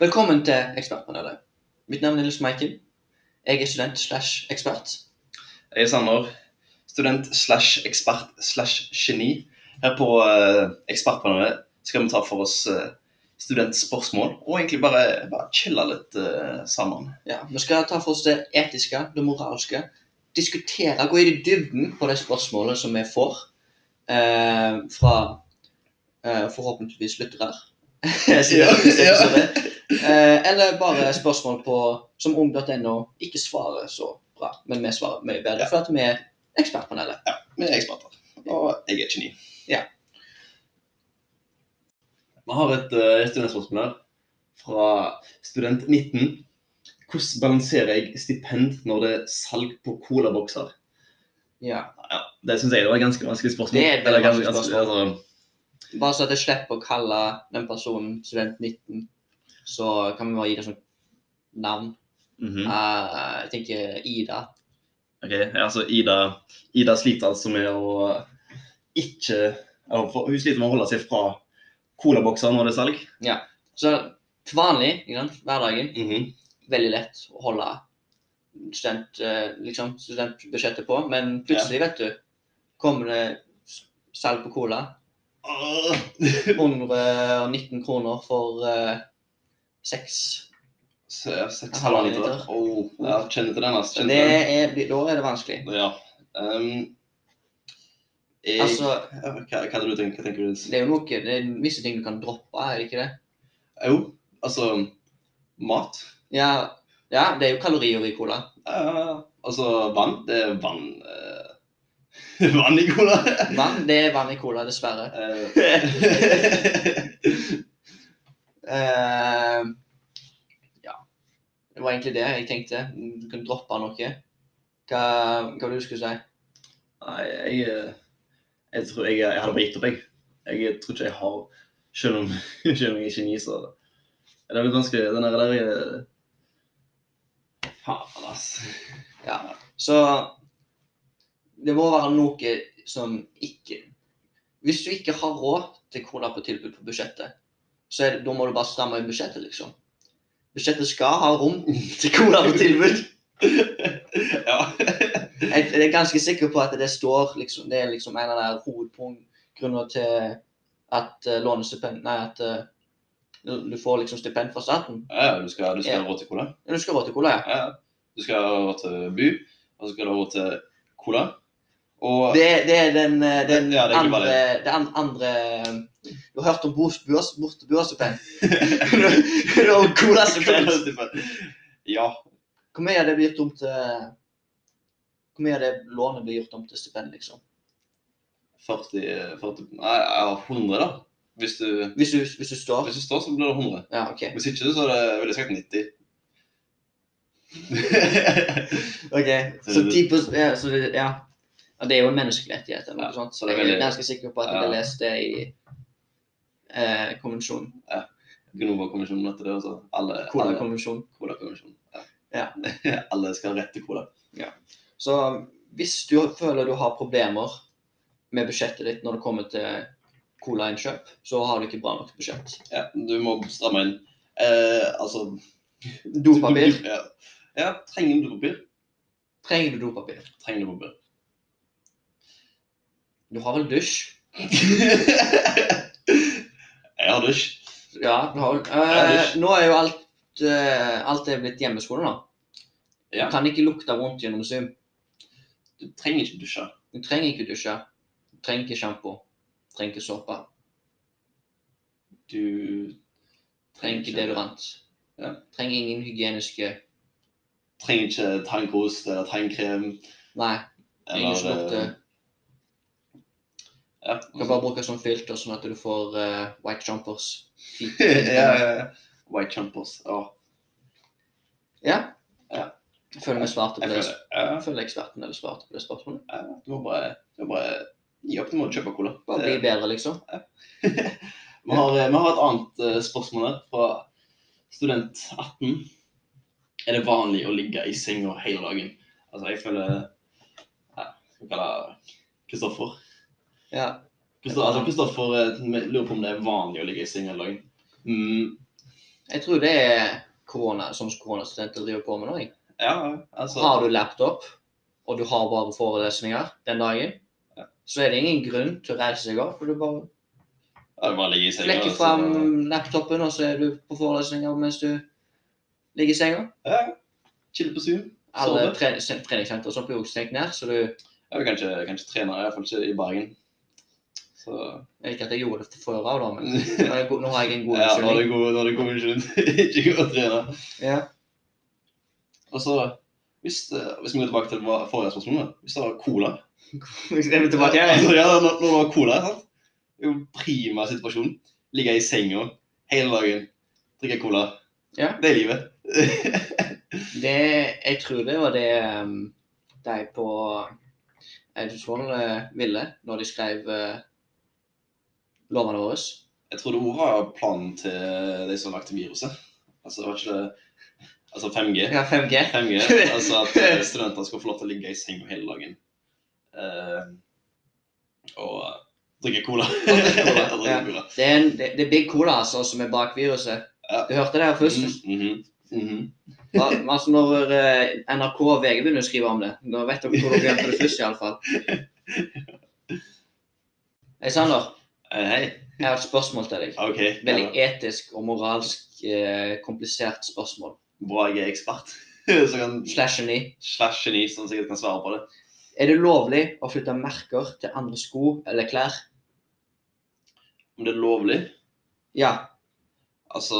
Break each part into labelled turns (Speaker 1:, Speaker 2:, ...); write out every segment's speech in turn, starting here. Speaker 1: Velkommen til Ekspertpanelet. Mitt navn er Lils Maiken. Jeg er student slash ekspert.
Speaker 2: Jeg er Sander, student slash ekspert slash geni. Her på eh, Ekspertpanelet skal vi ta for oss eh, studentspørsmål, og egentlig bare, bare chille litt eh, sammen.
Speaker 1: Ja, vi skal ta for oss det etiske, det moralske. Diskutere, gå i dybden på de spørsmålene som vi får eh, fra eh, forhåpentligvis lyttere. Siden
Speaker 2: Ja,
Speaker 1: det er
Speaker 2: ja.
Speaker 1: episode. eh, eller bare spørsmål på, som ung.no ikke svarer så bra, men vi svarer mye bedre, for at vi er Ekspertpanelet.
Speaker 2: Vi er eksperter, og jeg er geni.
Speaker 1: Ja.
Speaker 2: Vi har et eh, studentspørsmål her fra student 19. Hvordan balanserer jeg stipend når det er salg på colabokser?
Speaker 1: Ja.
Speaker 2: Ja, det syns jeg det var et ganske vanskelig spørsmål.
Speaker 1: Det er et veldig
Speaker 2: Eller ganske-
Speaker 1: vanskelig
Speaker 2: ganske-
Speaker 1: spørsmål.
Speaker 2: altså,
Speaker 1: Bare så at jeg slipper å kalle den personen student 19, så kan vi bare gi det som navn.
Speaker 2: mhm.
Speaker 1: Eh, jeg tenker Ida.
Speaker 2: Ok, altså Ida, Ida sliter altså med å ikke ja, for- Hun sliter med å holde seg fra colabokser når det er salg.
Speaker 1: Så til vanlig, ikke sant, hverdagen, veldig lett å holde student, eh, liksom, studentbudsjettet på, men plutselig, vet du, kommer det s- salg på cola.
Speaker 2: Åh!
Speaker 1: 119 kroner for eh, seks.
Speaker 2: Så ja, Seks
Speaker 1: Halvannen
Speaker 2: halvannen liter.
Speaker 1: liter.
Speaker 2: Oh, ja, kjenner til den, altså.
Speaker 1: Så
Speaker 2: Kjenner
Speaker 1: det
Speaker 2: til
Speaker 1: er, da er det vanskelig.
Speaker 2: den. Ja. Um, jeg,
Speaker 1: Altså,
Speaker 2: ja, hva, hva er det du tenker, hva tenker du?
Speaker 1: det er jo noe, det er visse ting du kan droppe, er det ikke det?
Speaker 2: Jo, altså Mat.
Speaker 1: Ja, ja, det er jo kalorier i cola.
Speaker 2: Eh, altså vann. Det er vann eh, Vann i cola.
Speaker 1: Vann, det er vann i cola, dessverre.
Speaker 2: Eh,
Speaker 1: Eh, ja. Det var egentlig det jeg tenkte. Du kan droppe noe. Hva, hva du skulle si?
Speaker 2: Nei, jeg, eh, jeg tror jeg, jeg hadde bare gitt opp, jeg. Jeg tror ikke jeg har Selv om, selv om jeg er geni, så er det litt vanskelig. Den der, der er- Faen, ass.
Speaker 1: Så det må være noe som ikke Hvis du ikke har råd til cola på tilbud på budsjettet, så er det, da må du bare stramme inn budsjettet, liksom. Budsjettet skal ha rom til cola på tilbud.
Speaker 2: ja.
Speaker 1: Jeg jeg er ganske sikker på at det står liksom, Det er liksom en av de hovedgrunnene til at eh, lånestipend Nei, at eh, du du får liksom stipend fra staten.
Speaker 2: ja du skal, du skal
Speaker 1: Ja.
Speaker 2: ha råd til cola.
Speaker 1: Men Du skal ha råd til cola, ja.
Speaker 2: Ja. Du skal ha råd til bu, og så skal du ha råd til cola. Og
Speaker 1: Det, er- det er den, eh, den
Speaker 2: Ja, det er
Speaker 1: andre,
Speaker 2: globalt.
Speaker 1: det an- andre eh, Du har hørt om bors- buers- bortebuerstipend? Du har colastipend.
Speaker 2: Ja.
Speaker 1: Hvor mye av det blir gjort om til Hvor mye av det lånet blir gjort om til stipend, liksom?
Speaker 2: 40, eh, 40 Nei, ja, 100, da. Hvis du,
Speaker 1: Hvis du, hvis du står?
Speaker 2: hvis du står, så blir det 100.
Speaker 1: Ja, OK.
Speaker 2: Hvis ikke, så er det veldig sagt 90.
Speaker 1: Ok, så
Speaker 2: det-
Speaker 1: 10 ja, så det, ja. ja. Det er jo en menneskerettighet, eller noe
Speaker 2: Ja,
Speaker 1: sånt, så
Speaker 2: det er
Speaker 1: jeg er
Speaker 2: veldig-
Speaker 1: ganske sikker på at jeg
Speaker 2: ja.
Speaker 1: har lest det i eh, konvensjonen.
Speaker 2: Gnova-kommisjonen heter det også. Alle, alle
Speaker 1: Kodakonvensjonen.
Speaker 2: Cola-kommisjonen. Ja.
Speaker 1: Ja.
Speaker 2: alle skal ha rett til cola.
Speaker 1: Så hvis du føler du har problemer med budsjettet ditt når det kommer til colainnkjøp, så har du ikke bra nok budsjett.
Speaker 2: Ja, du må stramme inn. Eh, altså
Speaker 1: Dopapir.
Speaker 2: Ja. ja, trenger du papir?
Speaker 1: Trenger du dopapir?
Speaker 2: Trenger du papir?
Speaker 1: Du har vel dusj?
Speaker 2: Jeg har dusj.
Speaker 1: Ja, du har vel
Speaker 2: Ja,
Speaker 1: eh,
Speaker 2: dusj.
Speaker 1: Nå er jo alt, eh, alt er blitt hjemmeskole nå.
Speaker 2: Ja.
Speaker 1: Du kan ikke lukte vondt gjennom Zoom.
Speaker 2: Du trenger ikke dusje.
Speaker 1: Du trenger ikke dusje. Du trenger ikke sjampo. Du trenger ikke såpe.
Speaker 2: Du
Speaker 1: Du trenger ikke deodorant.
Speaker 2: Ja.
Speaker 1: Du trenger ingen hygieniske
Speaker 2: Trenger ikke tannkost eller tannkrem.
Speaker 1: Nei, ingen snorte.
Speaker 2: eh, ja,
Speaker 1: Du kan bare bruke sånn filter, sånn at du får eh, white jumpers.
Speaker 2: ja, ja, ja. White jumpers. Ja.
Speaker 1: ja.
Speaker 2: Ja.
Speaker 1: Jeg føler vi svarte på
Speaker 2: Jeg
Speaker 1: det.
Speaker 2: føler, ja,
Speaker 1: Jeg føler eksperten eller svarte på det spørsmålet.
Speaker 2: ja, du må bare, du må bare gi opp, du må kjøpe cola.
Speaker 1: Bare bli bedre, liksom.
Speaker 2: Vi har, vi har et annet eh, spørsmål her fra student 18. Er det vanlig å ligge i senga hele dagen? Altså, jeg føler ja, Skal vi kalle Kristoffer?
Speaker 1: Ja.
Speaker 2: Kristoffer altså, Kristoffer, eh, lurer på om det er vanlig å ligge i senga hele dagen. Mm.
Speaker 1: Jeg tror det er korona, som koronastudenter driver på med nå. jeg.
Speaker 2: Ja, altså
Speaker 1: Har du laptop, og du har bare forelesninger den dagen, så er det ingen grunn til å reise seg opp. for Du bare
Speaker 2: ja, det bare ligger i senga. altså,
Speaker 1: flekker
Speaker 2: og så-
Speaker 1: frem laptopen, og så er du på forelesninger mens du ligger i senga.
Speaker 2: Ja, Chille på Zoom.
Speaker 1: Alle
Speaker 2: Sove.
Speaker 1: tre- sen- treningssentre som blir også stengt ned, så du
Speaker 2: Jeg vil kanskje, kanskje trene, iallfall ikke i Bergen. Så
Speaker 1: Jeg vet ikke at jeg gjorde det før av, da, men nå er jeg god- nå har jeg en god
Speaker 2: Ja, da er
Speaker 1: unnskyldning.
Speaker 2: det god da er det god unnskyldning. Ikke gå og trene.
Speaker 1: Ja.
Speaker 2: Og så, hvis, eh, hvis vi går tilbake til det var- forrige spørsmål, da. hvis det var cola
Speaker 1: Er vi tilbake her?
Speaker 2: Altså, ja, når, når det var cola, sant? Det er jo prima situasjon. Ligge i senga hele dagen, drikke cola.
Speaker 1: Ja.
Speaker 2: Det er livet.
Speaker 1: Det, jeg tror det var det ehm, de på Eidsvoll eh, ville når de skrev eh, lovene våre.
Speaker 2: Jeg tror det også var planen til de som lagde viruset. Altså, det var ikke det Altså 5G.
Speaker 1: Ja, 5G.
Speaker 2: 5G, altså at eh, studenter skulle få lov til å ligge i senga hele dagen. Eh, og drikke cola.
Speaker 1: Og drikke cola,
Speaker 2: Og drikke
Speaker 1: ja.
Speaker 2: cola.
Speaker 1: Det er, en, det, det er Big Cola altså, som er bak viruset.
Speaker 2: Ja.
Speaker 1: Du hørte det her først.
Speaker 2: Mm, mhm, mhm.
Speaker 1: Al- Altså Når eh, NRK og VG begynner å skrive om det, da vet dere hvor dere hørte det først. i alle fall. Hei, Sander.
Speaker 2: Eh, Hei.
Speaker 1: Jeg har et spørsmål til deg.
Speaker 2: OK.
Speaker 1: Veldig etisk og moralsk eh, komplisert spørsmål.
Speaker 2: Bra jeg er ekspert. Så kan
Speaker 1: Slash geni.
Speaker 2: slash geni som sikkert kan svare på det.
Speaker 1: Er det lovlig å flytte merker til andre sko eller klær?
Speaker 2: Om det er lovlig?
Speaker 1: Ja,
Speaker 2: Altså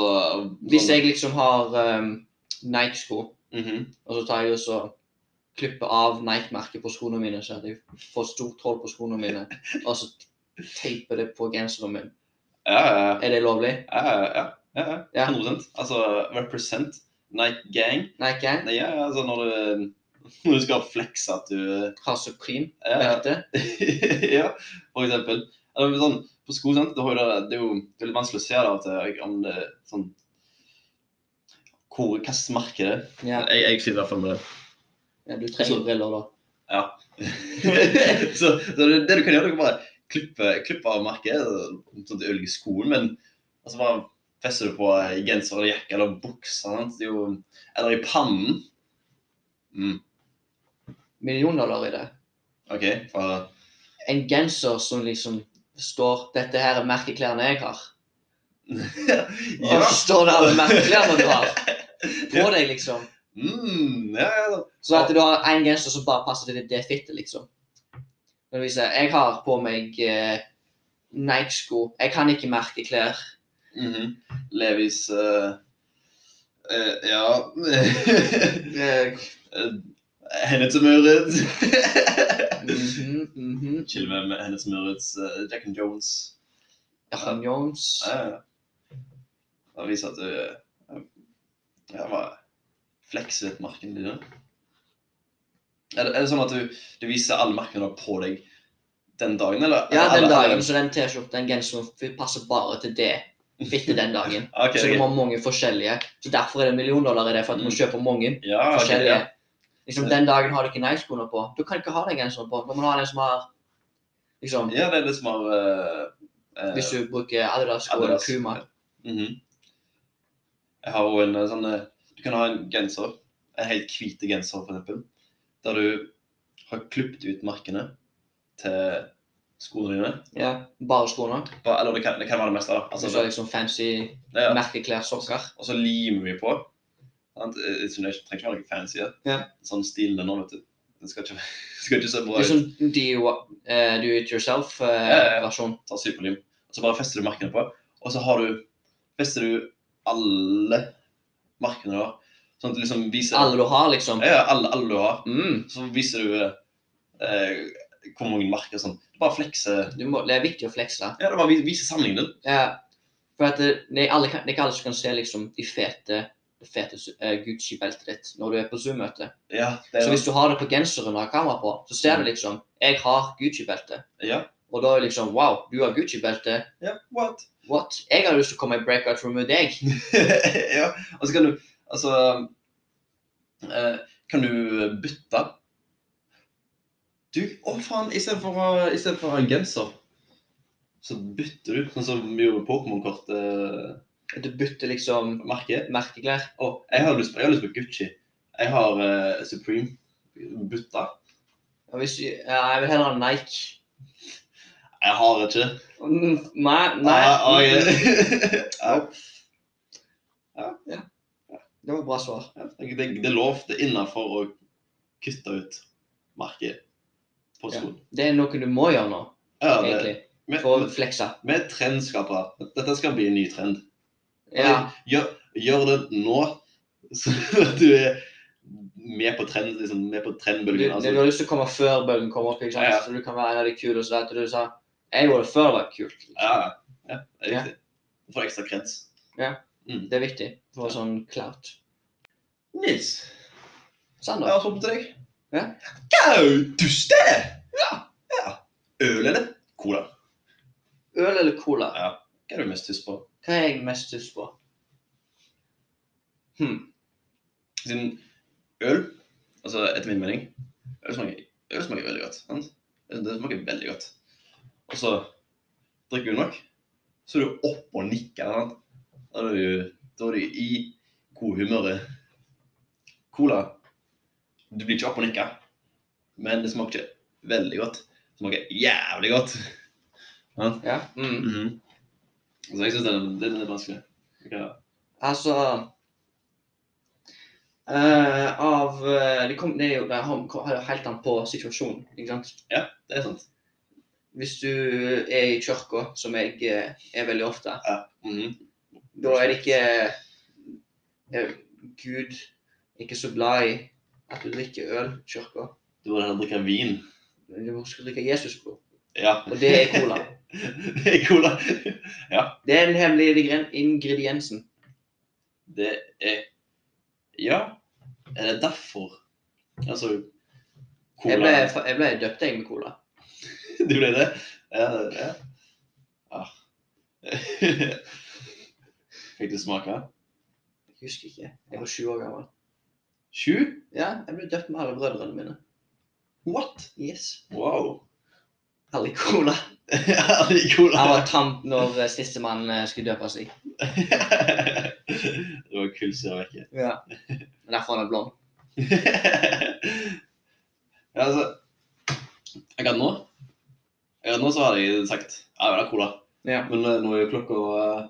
Speaker 1: hvis jeg liksom har ehm, Nike-sko,
Speaker 2: Mhm.
Speaker 1: og så tar jeg og så klipper av Nike-merket på skoene mine, så at jeg får stort hull på skoene mine, og så teiper det på genseren min.
Speaker 2: Ja, ja,
Speaker 1: Er det lovlig?
Speaker 2: ja, ja, ja, ja.
Speaker 1: Ja.
Speaker 2: 100 Altså represent. Night gang.
Speaker 1: Nike
Speaker 2: Nei, ja, ja, altså når du, når du skal flexe at du
Speaker 1: har Supreme
Speaker 2: ja, ja.
Speaker 1: belte.
Speaker 2: ja, for eksempel. Eller, men sånn, på sko, sant? Det, har jo det, det er jo det er litt vanskelig å se da, at eh, det, om det er sånn hvor, Hvilket merke det er.
Speaker 1: Ja.
Speaker 2: Jeg, jeg sliter i hvert fall med det.
Speaker 1: ja, du trenger
Speaker 2: Så-
Speaker 1: briller da.
Speaker 2: så så det, det du kan gjøre, du kan bare klippe, klippe av merket, sånn at du ødelegger skoen, men altså bare fester du på i genser eller jakke eller bukser, sant? Det er jo, eller i pannen. Mm,
Speaker 1: Millioner i det.
Speaker 2: OK. For,
Speaker 1: En genser som liksom står 'Dette her er merkeklærne jeg har'. Og
Speaker 2: ja.
Speaker 1: så står det alle merkeklærne du har på deg, liksom.
Speaker 2: Mm, ja, ja, ja.
Speaker 1: Så at du har én genser som bare passer til det fittet, liksom. Når du viser, jeg har på meg eh, Nike-sko. Jeg kan ikke merke klær.
Speaker 2: Mhm. Levis eh, eh, Ja
Speaker 1: Jeg-
Speaker 2: Hennes og Maurits.
Speaker 1: Mhm, mhm.
Speaker 2: Til og med med Hennes og Maurits, eh, Jack and Jones.
Speaker 1: Jeg har Jones.
Speaker 2: Ja, ja, ja. Det viser at du eh, ja, bare flekser litt marken din. da. Er det, er det sånn at du, du viser alle markene på deg den dagen, eller?
Speaker 1: Ja, den
Speaker 2: eller-
Speaker 1: dagen, så den T-skjorten, den genseren, f- passer bare til det fittet den dagen.
Speaker 2: Ok,
Speaker 1: Så du
Speaker 2: ok.
Speaker 1: må ha mange forskjellige. Så derfor er det en million dollar i det, for at du må kjøpe mange
Speaker 2: Ja, Mm. Ah, ok, ja.
Speaker 1: forskjellige. Liksom, Den dagen har du ikke Nike-skoene på. Du kan ikke ha den genseren på. Du må ha den som har liksom
Speaker 2: Ja, det er det som har eh, eh,
Speaker 1: Hvis du bruker Adidas-sko eller
Speaker 2: Adidas.
Speaker 1: Puma.
Speaker 2: Mhm. Jeg har også en eh, sånn eh, Du kan ha en genser, en helt hvit genser for eksempel, der du har klippet ut markene til skoene dine.
Speaker 1: Ja, bare skoene.
Speaker 2: Bare, eller det kan, det kan være det meste. da. Altså,
Speaker 1: så liksom fancy
Speaker 2: det- ja.
Speaker 1: merkeklær, sokker.
Speaker 2: Og så limer vi på. Sant? Eh, Det trenger ikke være noe fancy. da.
Speaker 1: Ja.
Speaker 2: Sånn stil den nå, vet du. Den skal ikke, skal ikke se bra ut.
Speaker 1: Liksom eh,
Speaker 2: Ja, ja, ja.
Speaker 1: do-it-yourself-versjon.
Speaker 2: tar superlim, og så bare fester du merkene på, og så har du, fester du alle merkene da, sånn at du liksom viser,
Speaker 1: Alle du har, liksom.
Speaker 2: ja, ja, alle, alle du har,
Speaker 1: Mm.
Speaker 2: så viser du eh, eh, hvor mange merker og sånn, du bare flekser,
Speaker 1: Du må, det er viktig å flekse.
Speaker 2: ja, du bare vi- viser samlingen din.
Speaker 1: Ja. For at det, det, er alle, kan- det er ikke alle som kan se liksom, de fete, det fete eh, Gucci-beltet ditt når du er på Zoom-møte.
Speaker 2: Ja, det
Speaker 1: Så
Speaker 2: er, Mm.
Speaker 1: hvis du har det på genseren og har kamera på, så ser du liksom 'Jeg har Gucci-belte'.
Speaker 2: ja,
Speaker 1: Og da er det liksom 'Wow, du har Gucci-belte'.
Speaker 2: ja, what?
Speaker 1: What? Jeg har lyst til å komme i breakout room med deg.
Speaker 2: ja, og så kan du, altså, eh, kan du bytte? Du, å faen, i stedet for, å- i stedet for å ha en genser, så bytter du, sånn som vi gjorde med Pokémon-kort eh,
Speaker 1: At du bytter liksom
Speaker 2: Merke?
Speaker 1: merkeklær.
Speaker 2: Å, jeg har lyst på, jeg har lyst på Gucci. Jeg har eh, Supreme. Butta.
Speaker 1: Ja, hvis du, ja, jeg vil heller ha Nike.
Speaker 2: Jeg har ikke det.
Speaker 1: Mm, Nei,
Speaker 2: Ah, ah,
Speaker 1: nei.
Speaker 2: jeg- Ja,
Speaker 1: Det var et bra svar.
Speaker 2: jeg tenker det, det er lov. Det er innafor å kutte ut merket på
Speaker 1: Ja.
Speaker 2: skoen.
Speaker 1: Det er noe du må gjøre nå,
Speaker 2: Ja, det,
Speaker 1: egentlig.
Speaker 2: vi,
Speaker 1: For å flekse.
Speaker 2: vi er trendskapere. Dette skal bli en ny trend.
Speaker 1: Ja.
Speaker 2: Gjør, gjør det nå, så du er med på trend, liksom, med på
Speaker 1: Du,
Speaker 2: trendbølgen.
Speaker 1: du
Speaker 2: Altså.
Speaker 1: har lyst til å komme før bølgen kommer opp, ikke sant?
Speaker 2: Ja, ja.
Speaker 1: så du kan være en av de kule. Så vet du, du sa jeg gjorde det før det var kult. liksom.
Speaker 2: Ja, ja. ja, det er riktig. Du får ekstra kreds.
Speaker 1: Det er viktig for sånn clout.
Speaker 2: Nils, jeg
Speaker 1: Sander,
Speaker 2: har kommet til deg.
Speaker 1: Ja.
Speaker 2: Gautuste! Ja. ja. Øl eller cola?
Speaker 1: øl eller cola?
Speaker 2: Hva er du mest tyst på?
Speaker 1: Hva er jeg mest lyst på? Hm.
Speaker 2: Siden øl, altså etter min mening, øl smaker, øl smaker veldig godt. Sant? Det smaker veldig godt. Og så drikker du nok, så er du oppe og nikker. Sant? Da er du, da er du i god humøret. Cola, du blir ikke oppe og nikker, men det smaker ikke veldig godt. Det smaker jævlig godt.
Speaker 1: Ja. Mm.
Speaker 2: Mhm. Så Altså, jeg syns den, den er litt vanskelig. Ja.
Speaker 1: Altså eh, Av eh, det, kom, det er jo det har- har jo helt an på situasjonen, ikke sant?
Speaker 2: Det er sant.
Speaker 1: Hvis du er i kirka, som jeg eh, er veldig ofte,
Speaker 2: Mhm.
Speaker 1: da er det ikke eh, Gud er ikke så glad i at du drikker øl i kirka.
Speaker 2: Du burde heller drikke vin.
Speaker 1: Du skal drikke Jesusblod,
Speaker 2: Ja.
Speaker 1: og det er cola.
Speaker 2: Det er cola.
Speaker 1: Det er den hemmelige ingre- ingrediensen.
Speaker 2: Det er Ja. Er det derfor? Altså
Speaker 1: Jeg ble,
Speaker 2: Cola
Speaker 1: jeg ble døpt jeg med cola.
Speaker 2: Du ble det? Ja. ja. Ah. Fikk du smake?
Speaker 1: Jeg husker ikke. Jeg var sju år gammel.
Speaker 2: Sju?
Speaker 1: Ja, jeg ble døpt med alle brødrene mine.
Speaker 2: What?
Speaker 1: Yes.
Speaker 2: Wow.
Speaker 1: Alle cola.
Speaker 2: Herlig
Speaker 1: Jeg
Speaker 2: cola.
Speaker 1: var tant når eh, sistemann eh, skulle døpe seg.
Speaker 2: Det var kult å vekke.
Speaker 1: Ja. Derfor han er blond.
Speaker 2: ja, altså Akkurat nå Akkurat nå så har jeg sagt ja, jeg vil ha cola.
Speaker 1: Ja.
Speaker 2: Men eh, nå er jo klokka eh,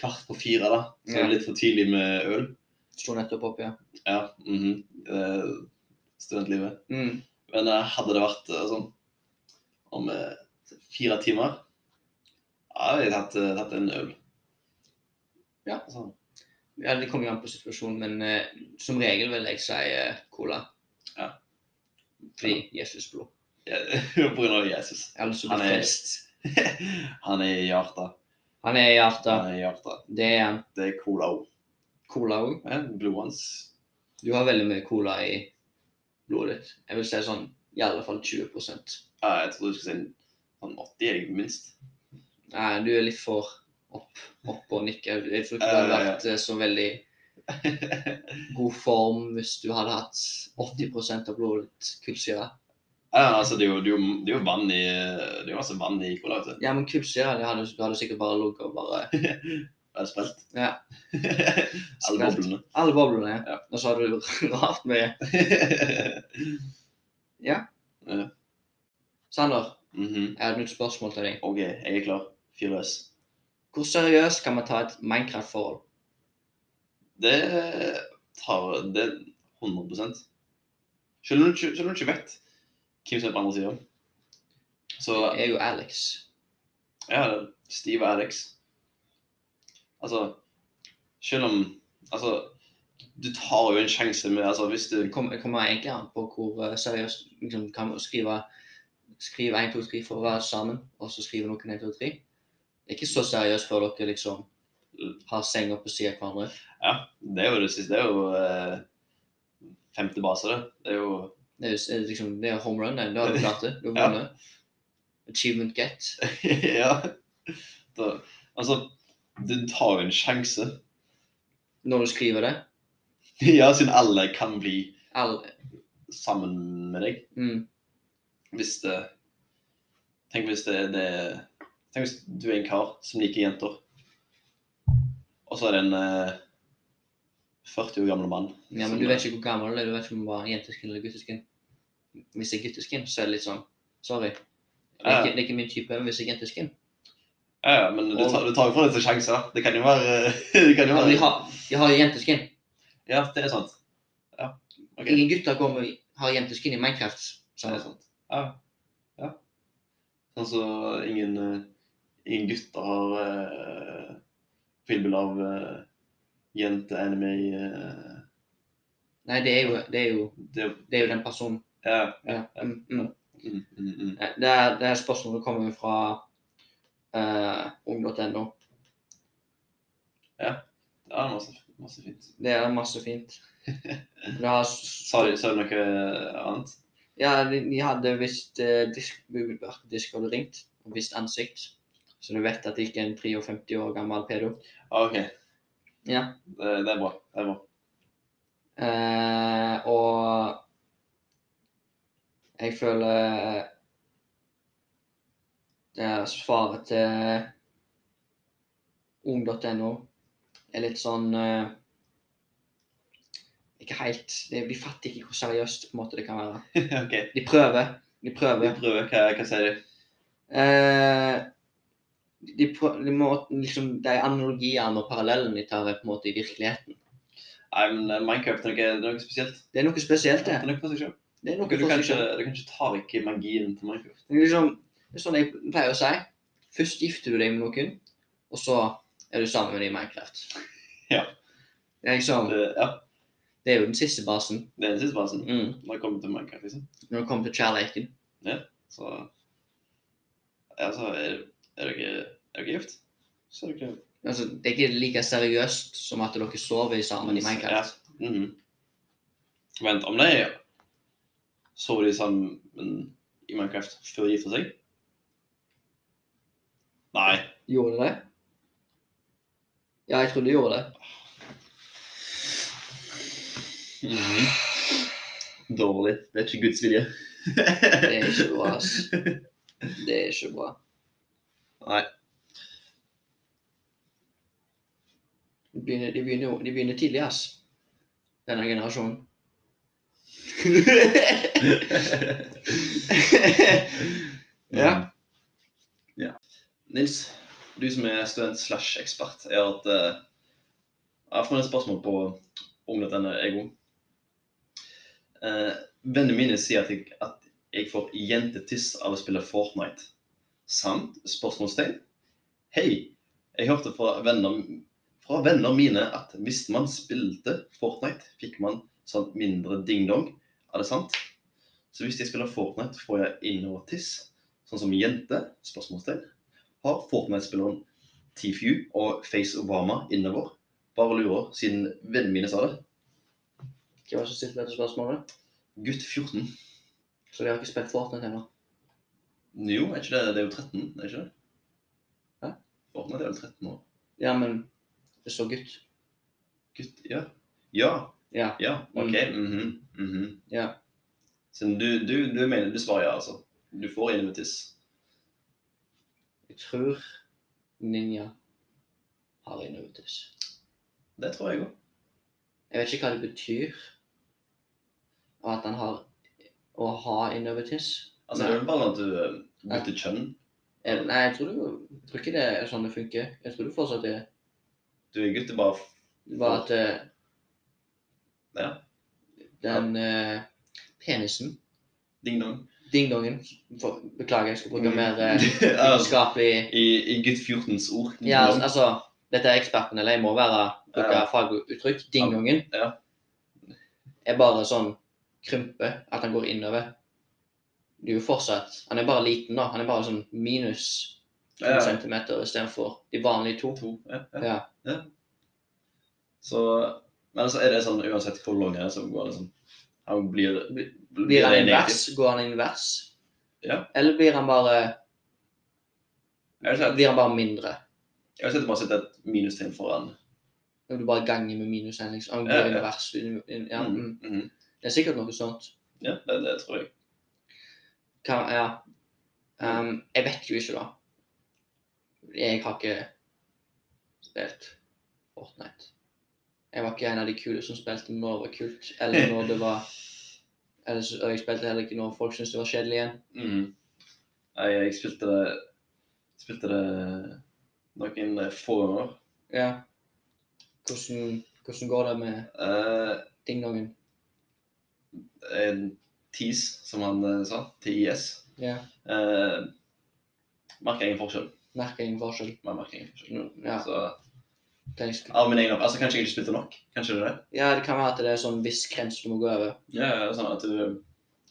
Speaker 2: kvart på fire, da. Så det
Speaker 1: Ja.
Speaker 2: er litt for tidlig med øl.
Speaker 1: Sto nettopp opp, ja.
Speaker 2: Ja, mhm. Eh, Studentlivet.
Speaker 1: Mm.
Speaker 2: Men eh, hadde det vært eh, sånn om eh, fire timer Ja, jeg hadde tatt, eh, tatt en øl.
Speaker 1: Ja.
Speaker 2: Sånn.
Speaker 1: Ja, Det kommer jo an på situasjonen, men eh, som regel vil jeg si eh, cola.
Speaker 2: Ja.
Speaker 1: Fordi Jesus blod.
Speaker 2: Ja, på grunn av Jesus.
Speaker 1: Ellers så
Speaker 2: Han
Speaker 1: blir
Speaker 2: er-
Speaker 1: det frelst.
Speaker 2: Han er i hjertet.
Speaker 1: Han er i hjertet.
Speaker 2: Han er i hjertet.
Speaker 1: Det er han.
Speaker 2: Det er cola òg.
Speaker 1: Cola òg.
Speaker 2: Ja, blodet hans
Speaker 1: Du har veldig mye cola i blodet ditt. Jeg vil si sånn i alle fall 20 Nei,
Speaker 2: Ja, jeg trodde du skulle si sånn 80, jeg, minst.
Speaker 1: du er litt for opp, opp og nikker. Jeg tror ikke du
Speaker 2: Ja,
Speaker 1: hadde
Speaker 2: ja, ja.
Speaker 1: vært eh, så veldig god form hvis du hadde hatt 80 av blodet ditt kullsyre.
Speaker 2: Ja, altså, det er jo, det er jo, det er jo vann i Det er jo masse vann i cola, vet du.
Speaker 1: Ja, men kullsyre, det hadde du hadde sikkert bare ligget og bare
Speaker 2: Er det sprelt?
Speaker 1: Ja.
Speaker 2: Alle
Speaker 1: Sprelt.
Speaker 2: boblene.
Speaker 1: Alle boblene.
Speaker 2: Ja.
Speaker 1: Og så har du rart mye. Sander,
Speaker 2: Mhm.
Speaker 1: jeg har et nytt spørsmål til deg.
Speaker 2: OK, jeg er klar. Fyr løs.
Speaker 1: Hvor seriøst kan man ta et Minecraft-forhold?
Speaker 2: Det tar det 100 Selv om du ikke, selv om du ikke vet hvem som er på andre sida. Så
Speaker 1: Jeg er jo Alex.
Speaker 2: Ja, Steve og Alex. Altså, selv om Altså, du tar jo en sjanse med altså, Hvis du
Speaker 1: Det kommer, det kommer egentlig an på hvor eh, seriøst liksom, kan man skrive, skrive 1, 2, 3 for å være sammen, og så skrive noen 1, 2, 3. Det er ikke så seriøst før dere liksom har senga på siden av hverandre.
Speaker 2: Ja, det er jo det siste. Det er jo eh, femte base, det. Det er jo
Speaker 1: Det er, jo s- eh, liksom, det er home run, det. Da har du klart det. Du har
Speaker 2: Ja.
Speaker 1: vunnet. Achievement get.
Speaker 2: Ja. Da, altså, du tar jo en sjanse.
Speaker 1: Når du skriver det.
Speaker 2: Ja, siden alle kan bli
Speaker 1: All,
Speaker 2: sammen med deg.
Speaker 1: mm,
Speaker 2: Hvis det Tenk hvis det, det Tenk hvis du er en kar som liker jenter. Og Og så er det en eh, 40 år gammel mann.
Speaker 1: Ja, men du vet ikke hvor gammel du er, du vet ikke om det var jenteskin eller gutteskin. Hvis det er gutteskin, så er det litt sånn Sorry. Det er ikke, det er ikke min type, men hvis det er jenteskin
Speaker 2: Ja, ja, men det tar, det tar jo fra deg til sjanser, da. Det kan jo være det kan
Speaker 1: ja,
Speaker 2: jo
Speaker 1: men
Speaker 2: være...
Speaker 1: de, har, de har jo jenteskin.
Speaker 2: Ja, det er sant. Ja, ok.
Speaker 1: Ingen gutter kommer og har jenteskin i Minecraft. sånn
Speaker 2: Det
Speaker 1: Så.
Speaker 2: er sant. Ja. ja. Sånn så ingen, eh, ingen gutter har uh, filmbilder av uh, jente-anime eh,
Speaker 1: Nei, det er, jo, det, er jo,
Speaker 2: Det
Speaker 1: det er jo den personen.
Speaker 2: ja, ja.
Speaker 1: Ja. Mm, mm.
Speaker 2: Mm, mm, mm.
Speaker 1: Nei, Det, er, det er spørsmålet kommer jo fra eh, ung.no.
Speaker 2: Ja, det er masse, masse fint.
Speaker 1: Det er masse fint. Det har, s-
Speaker 2: Sa de, sa de noe eh, annet?
Speaker 1: ja, de, de hadde visst eh, disk, disk hadde ringt, og visst ansikt. Så du vet at det ikke er en 53 år gammel pedo.
Speaker 2: Ja, Ah, OK.
Speaker 1: Ja.
Speaker 2: Det, det er bra. Det er bra.
Speaker 1: Eh, og jeg føler eh, det er svaret til ung.no er litt sånn eh, Ikke helt det- De fatter ikke hvor seriøst på en måte det kan være.
Speaker 2: OK.
Speaker 1: De prøver. De
Speaker 2: Vi
Speaker 1: prøver.
Speaker 2: prøver. Hva, hva sier de?
Speaker 1: Eh, de, prø- de, må, liksom, de analogiene og parallellene de tar, er på en måte i virkeligheten.
Speaker 2: Nei, men eh, Minecraft er noe, det er noe spesielt.
Speaker 1: Det er noe spesielt,
Speaker 2: Det er
Speaker 1: det.
Speaker 2: noe for seg selv.
Speaker 1: det er noe
Speaker 2: Du
Speaker 1: for
Speaker 2: kan
Speaker 1: seg
Speaker 2: ikke,
Speaker 1: selv.
Speaker 2: du kan ikke ta vekk magien til Minecraft.
Speaker 1: Det er liksom, det er sånn jeg pleier å si. Først gifter du deg med noen, og så er du sammen med dem i Minecraft.
Speaker 2: Ja.
Speaker 1: Det er, liksom,
Speaker 2: Det, ja,
Speaker 1: det er jo den siste basen
Speaker 2: det er den siste basen
Speaker 1: mm,
Speaker 2: når det kommer til Minecraft. liksom.
Speaker 1: når det kommer til kjærligheten.
Speaker 2: Så ja, så er, er dere er dere gift? Så er dere
Speaker 1: Altså, det er ikke like seriøst som at dere sover sammen i Minecraft.
Speaker 2: Ja. mhm. Vent, om de sover de sammen i Minecraft før de gifter seg? Nei.
Speaker 1: Gjorde du det? Ja, jeg tror du gjorde det. Mhm.
Speaker 2: Dårlig. Det er ikke Guds vilje.
Speaker 1: Det er ikke bra, ass. Det er ikke bra.
Speaker 2: Nei.
Speaker 1: De begynner, de begynner, jo- de begynner tidlig, ass. Denne generasjonen. Ja.
Speaker 2: ja. Nils, du som er student slash ekspert, jeg har hatt eh, Jeg har fått et spørsmål på om dette er jeg òg. Eh, vennene mine sier at jeg, at jeg får jentetiss av å spille Fortnite. Sant? Spørsmålstegn. Hei, jeg hørte fra venner, fra venner mine at hvis man spilte Fortnite, fikk man sånn mindre ding-dong. Er det sant? Så hvis jeg spiller Fortnite, får jeg innover-tiss, sånn som jente? Spørsmålstegn. Har Fortnite-spilleren Tfue og Face Obama innover? Bare lurer, siden vennene mine sa det.
Speaker 1: Hva var det som stilte dette spørsmålet?
Speaker 2: Gutt 14.
Speaker 1: Så de har ikke spilt Fortnite ennå?
Speaker 2: Jo, er ikke det, det er jo 13, er ikke det?
Speaker 1: Hæ?
Speaker 2: Fortnite er vel 13 år.
Speaker 1: Ja, men det står gutt.
Speaker 2: Gutt, ja. Ja,
Speaker 1: Ja.
Speaker 2: ja, ok. mhm, mhm.
Speaker 1: Mm. Ja.
Speaker 2: Så du, du, du mener du svarer ja, altså? Du får innover-tiss.
Speaker 1: Jeg tror Ninja har innovitus.
Speaker 2: Det tror jeg òg.
Speaker 1: Jeg vet ikke hva det betyr og at han har å ha innovitus.
Speaker 2: Altså, det er vel bare at du eh, bytter kjønn.
Speaker 1: Jeg, nei, jeg tror, du, jeg tror ikke det er sånn det funker. Jeg tror du fortsatt er
Speaker 2: Du er gutt, det er bare
Speaker 1: bare at eh,
Speaker 2: Ja.
Speaker 1: den eh, penisen
Speaker 2: ding-dong.
Speaker 1: Dingdongen. for- Beklager, jeg skal bruke
Speaker 2: Mm.
Speaker 1: mer eh,
Speaker 2: Ja, altså,
Speaker 1: vitenskapelig
Speaker 2: I, I gutt 14s ord.
Speaker 1: Ja,
Speaker 2: ding-dong.
Speaker 1: altså, dette er eksperten, eller jeg må være bruke
Speaker 2: Mm. Ja.
Speaker 1: faguttrykk. Dingdongen
Speaker 2: Ja.
Speaker 1: er bare sånn krympe, at han går innover. Det er jo fortsatt Han er bare liten, da. Han er bare sånn minus to
Speaker 2: Ja.
Speaker 1: centimeter istedenfor de vanlige to.
Speaker 2: To, ja,
Speaker 1: altså- Ja.
Speaker 2: Så, men altså er det sånn, uansett hvor lang han er, så går det sånn Han blir, blir,
Speaker 1: Blir han
Speaker 2: det
Speaker 1: invers?
Speaker 2: negativt?
Speaker 1: Går han invers?
Speaker 2: Ja.
Speaker 1: Eller blir han bare
Speaker 2: Jeg har sett-
Speaker 1: Blir han bare mindre?
Speaker 2: jeg har sett bare sett et minustegn foran.
Speaker 1: Når du bare ganger med minus en, liksom. Han går
Speaker 2: Ja, ja.
Speaker 1: invers. in- in- Ja.
Speaker 2: Mhm,
Speaker 1: Mm.
Speaker 2: mhm.
Speaker 1: Det er sikkert noe sånt.
Speaker 2: Ja, det, det tror jeg.
Speaker 1: Hva, ja. Ehm, jeg vet jo ikke, da. Jeg har ikke spilt Fortnite. Jeg var ikke en av de kule som spilte når det var kult, eller når det var eller så- og Jeg spilte heller ikke når folk syntes det var kjedelig igjen.
Speaker 2: Mm. Jeg, jeg spilte det spilte det noen få ganger.
Speaker 1: Ja. Hvordan, hvordan går det med
Speaker 2: Eh,
Speaker 1: dingdongen?
Speaker 2: en TIS, som han eh, sa. TIS.
Speaker 1: Ja.
Speaker 2: Eh, merker ingen forskjell.
Speaker 1: Merker ingen forskjell.
Speaker 2: Man merker ingen forskjell.
Speaker 1: Ja,
Speaker 2: Så,
Speaker 1: tenk skal-
Speaker 2: av min egen altså, Kanskje jeg ikke spilte nok? Kanskje det er det?
Speaker 1: ja, det kan være at det er sånn viss grense du må gå over.
Speaker 2: Ja, ja, sånn at du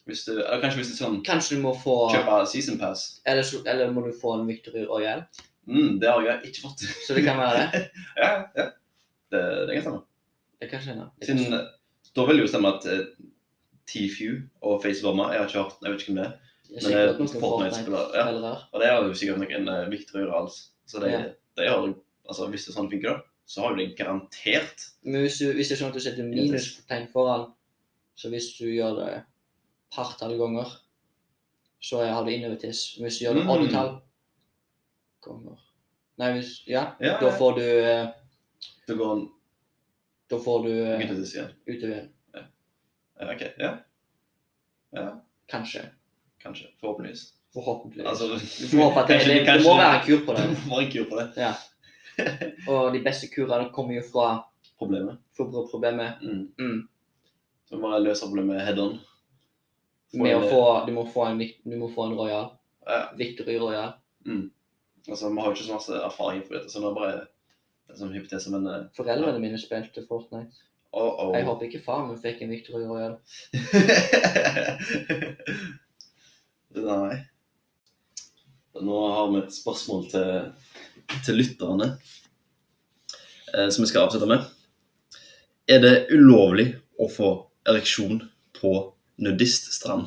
Speaker 2: hvis du, Eller kanskje hvis du sånn
Speaker 1: Kanskje du må få
Speaker 2: kjøper season pass.
Speaker 1: eller, så- eller må du få en Victory Royale.
Speaker 2: Mm, det har jeg ikke fått.
Speaker 1: Så det kan være det.
Speaker 2: ja, ja. Det, det kan stemme.
Speaker 1: Det kan skje. det kan
Speaker 2: Siden,
Speaker 1: skje.
Speaker 2: da vil det jo stemme at eh, TFU og Facebommer Jeg har ikke hørt, jeg vet ikke hvem det er.
Speaker 1: Det er
Speaker 2: men det er
Speaker 1: sikkert noen
Speaker 2: Fortnite-spillere, ja.
Speaker 1: Fortnite-spillere.
Speaker 2: Og det har jo sikkert noen uh, Victor Rals. Så det,
Speaker 1: Ja.
Speaker 2: det har, altså, hvis det sånn funker, da, så har jo det garantert
Speaker 1: Men hvis du, hvis det er sånn at du setter minustegn foran, så hvis du gjør det partall ganger, så har du innovatis. Men hvis du gjør det
Speaker 2: Mm.
Speaker 1: oddetall ganger Nei, hvis Ja,
Speaker 2: Ja,
Speaker 1: da
Speaker 2: ja.
Speaker 1: får du eh,
Speaker 2: Det går en
Speaker 1: Da får du eh,
Speaker 2: gutt ut i siden.
Speaker 1: utover.
Speaker 2: Ja, OK. Ja,
Speaker 1: Kanskje.
Speaker 2: kanskje. Forhåpentligvis.
Speaker 1: Forhåpentligvis.
Speaker 2: Altså,
Speaker 1: du får håpe at det,
Speaker 2: kanskje-
Speaker 1: det, det
Speaker 2: kanskje-
Speaker 1: må være en kur på det.
Speaker 2: Det må være en kur på det.
Speaker 1: Ja. Og de beste kurene kommer jo fra
Speaker 2: Problemet.
Speaker 1: forbrukerproblemet
Speaker 2: Mm.
Speaker 1: Mm.
Speaker 2: Så vi bare løser problemet med head-on. Få
Speaker 1: med å
Speaker 2: en-
Speaker 1: få Du må få en, vikt- du må få en royal.
Speaker 2: Ja.
Speaker 1: Victory royal.
Speaker 2: Altså, Vi har jo ikke så masse erfaring på dette, så det er bare det er sånn hypotese, men eh,
Speaker 1: Foreldrene mine spilte Fortnite.
Speaker 2: oh, oh.
Speaker 1: Jeg håper ikke faren min fikk en Victory Royal.
Speaker 2: Nei. Nå har vi et spørsmål til, til lytterne eh, som vi skal avslutte med. Er det ulovlig å få ereksjon på nudiststrand?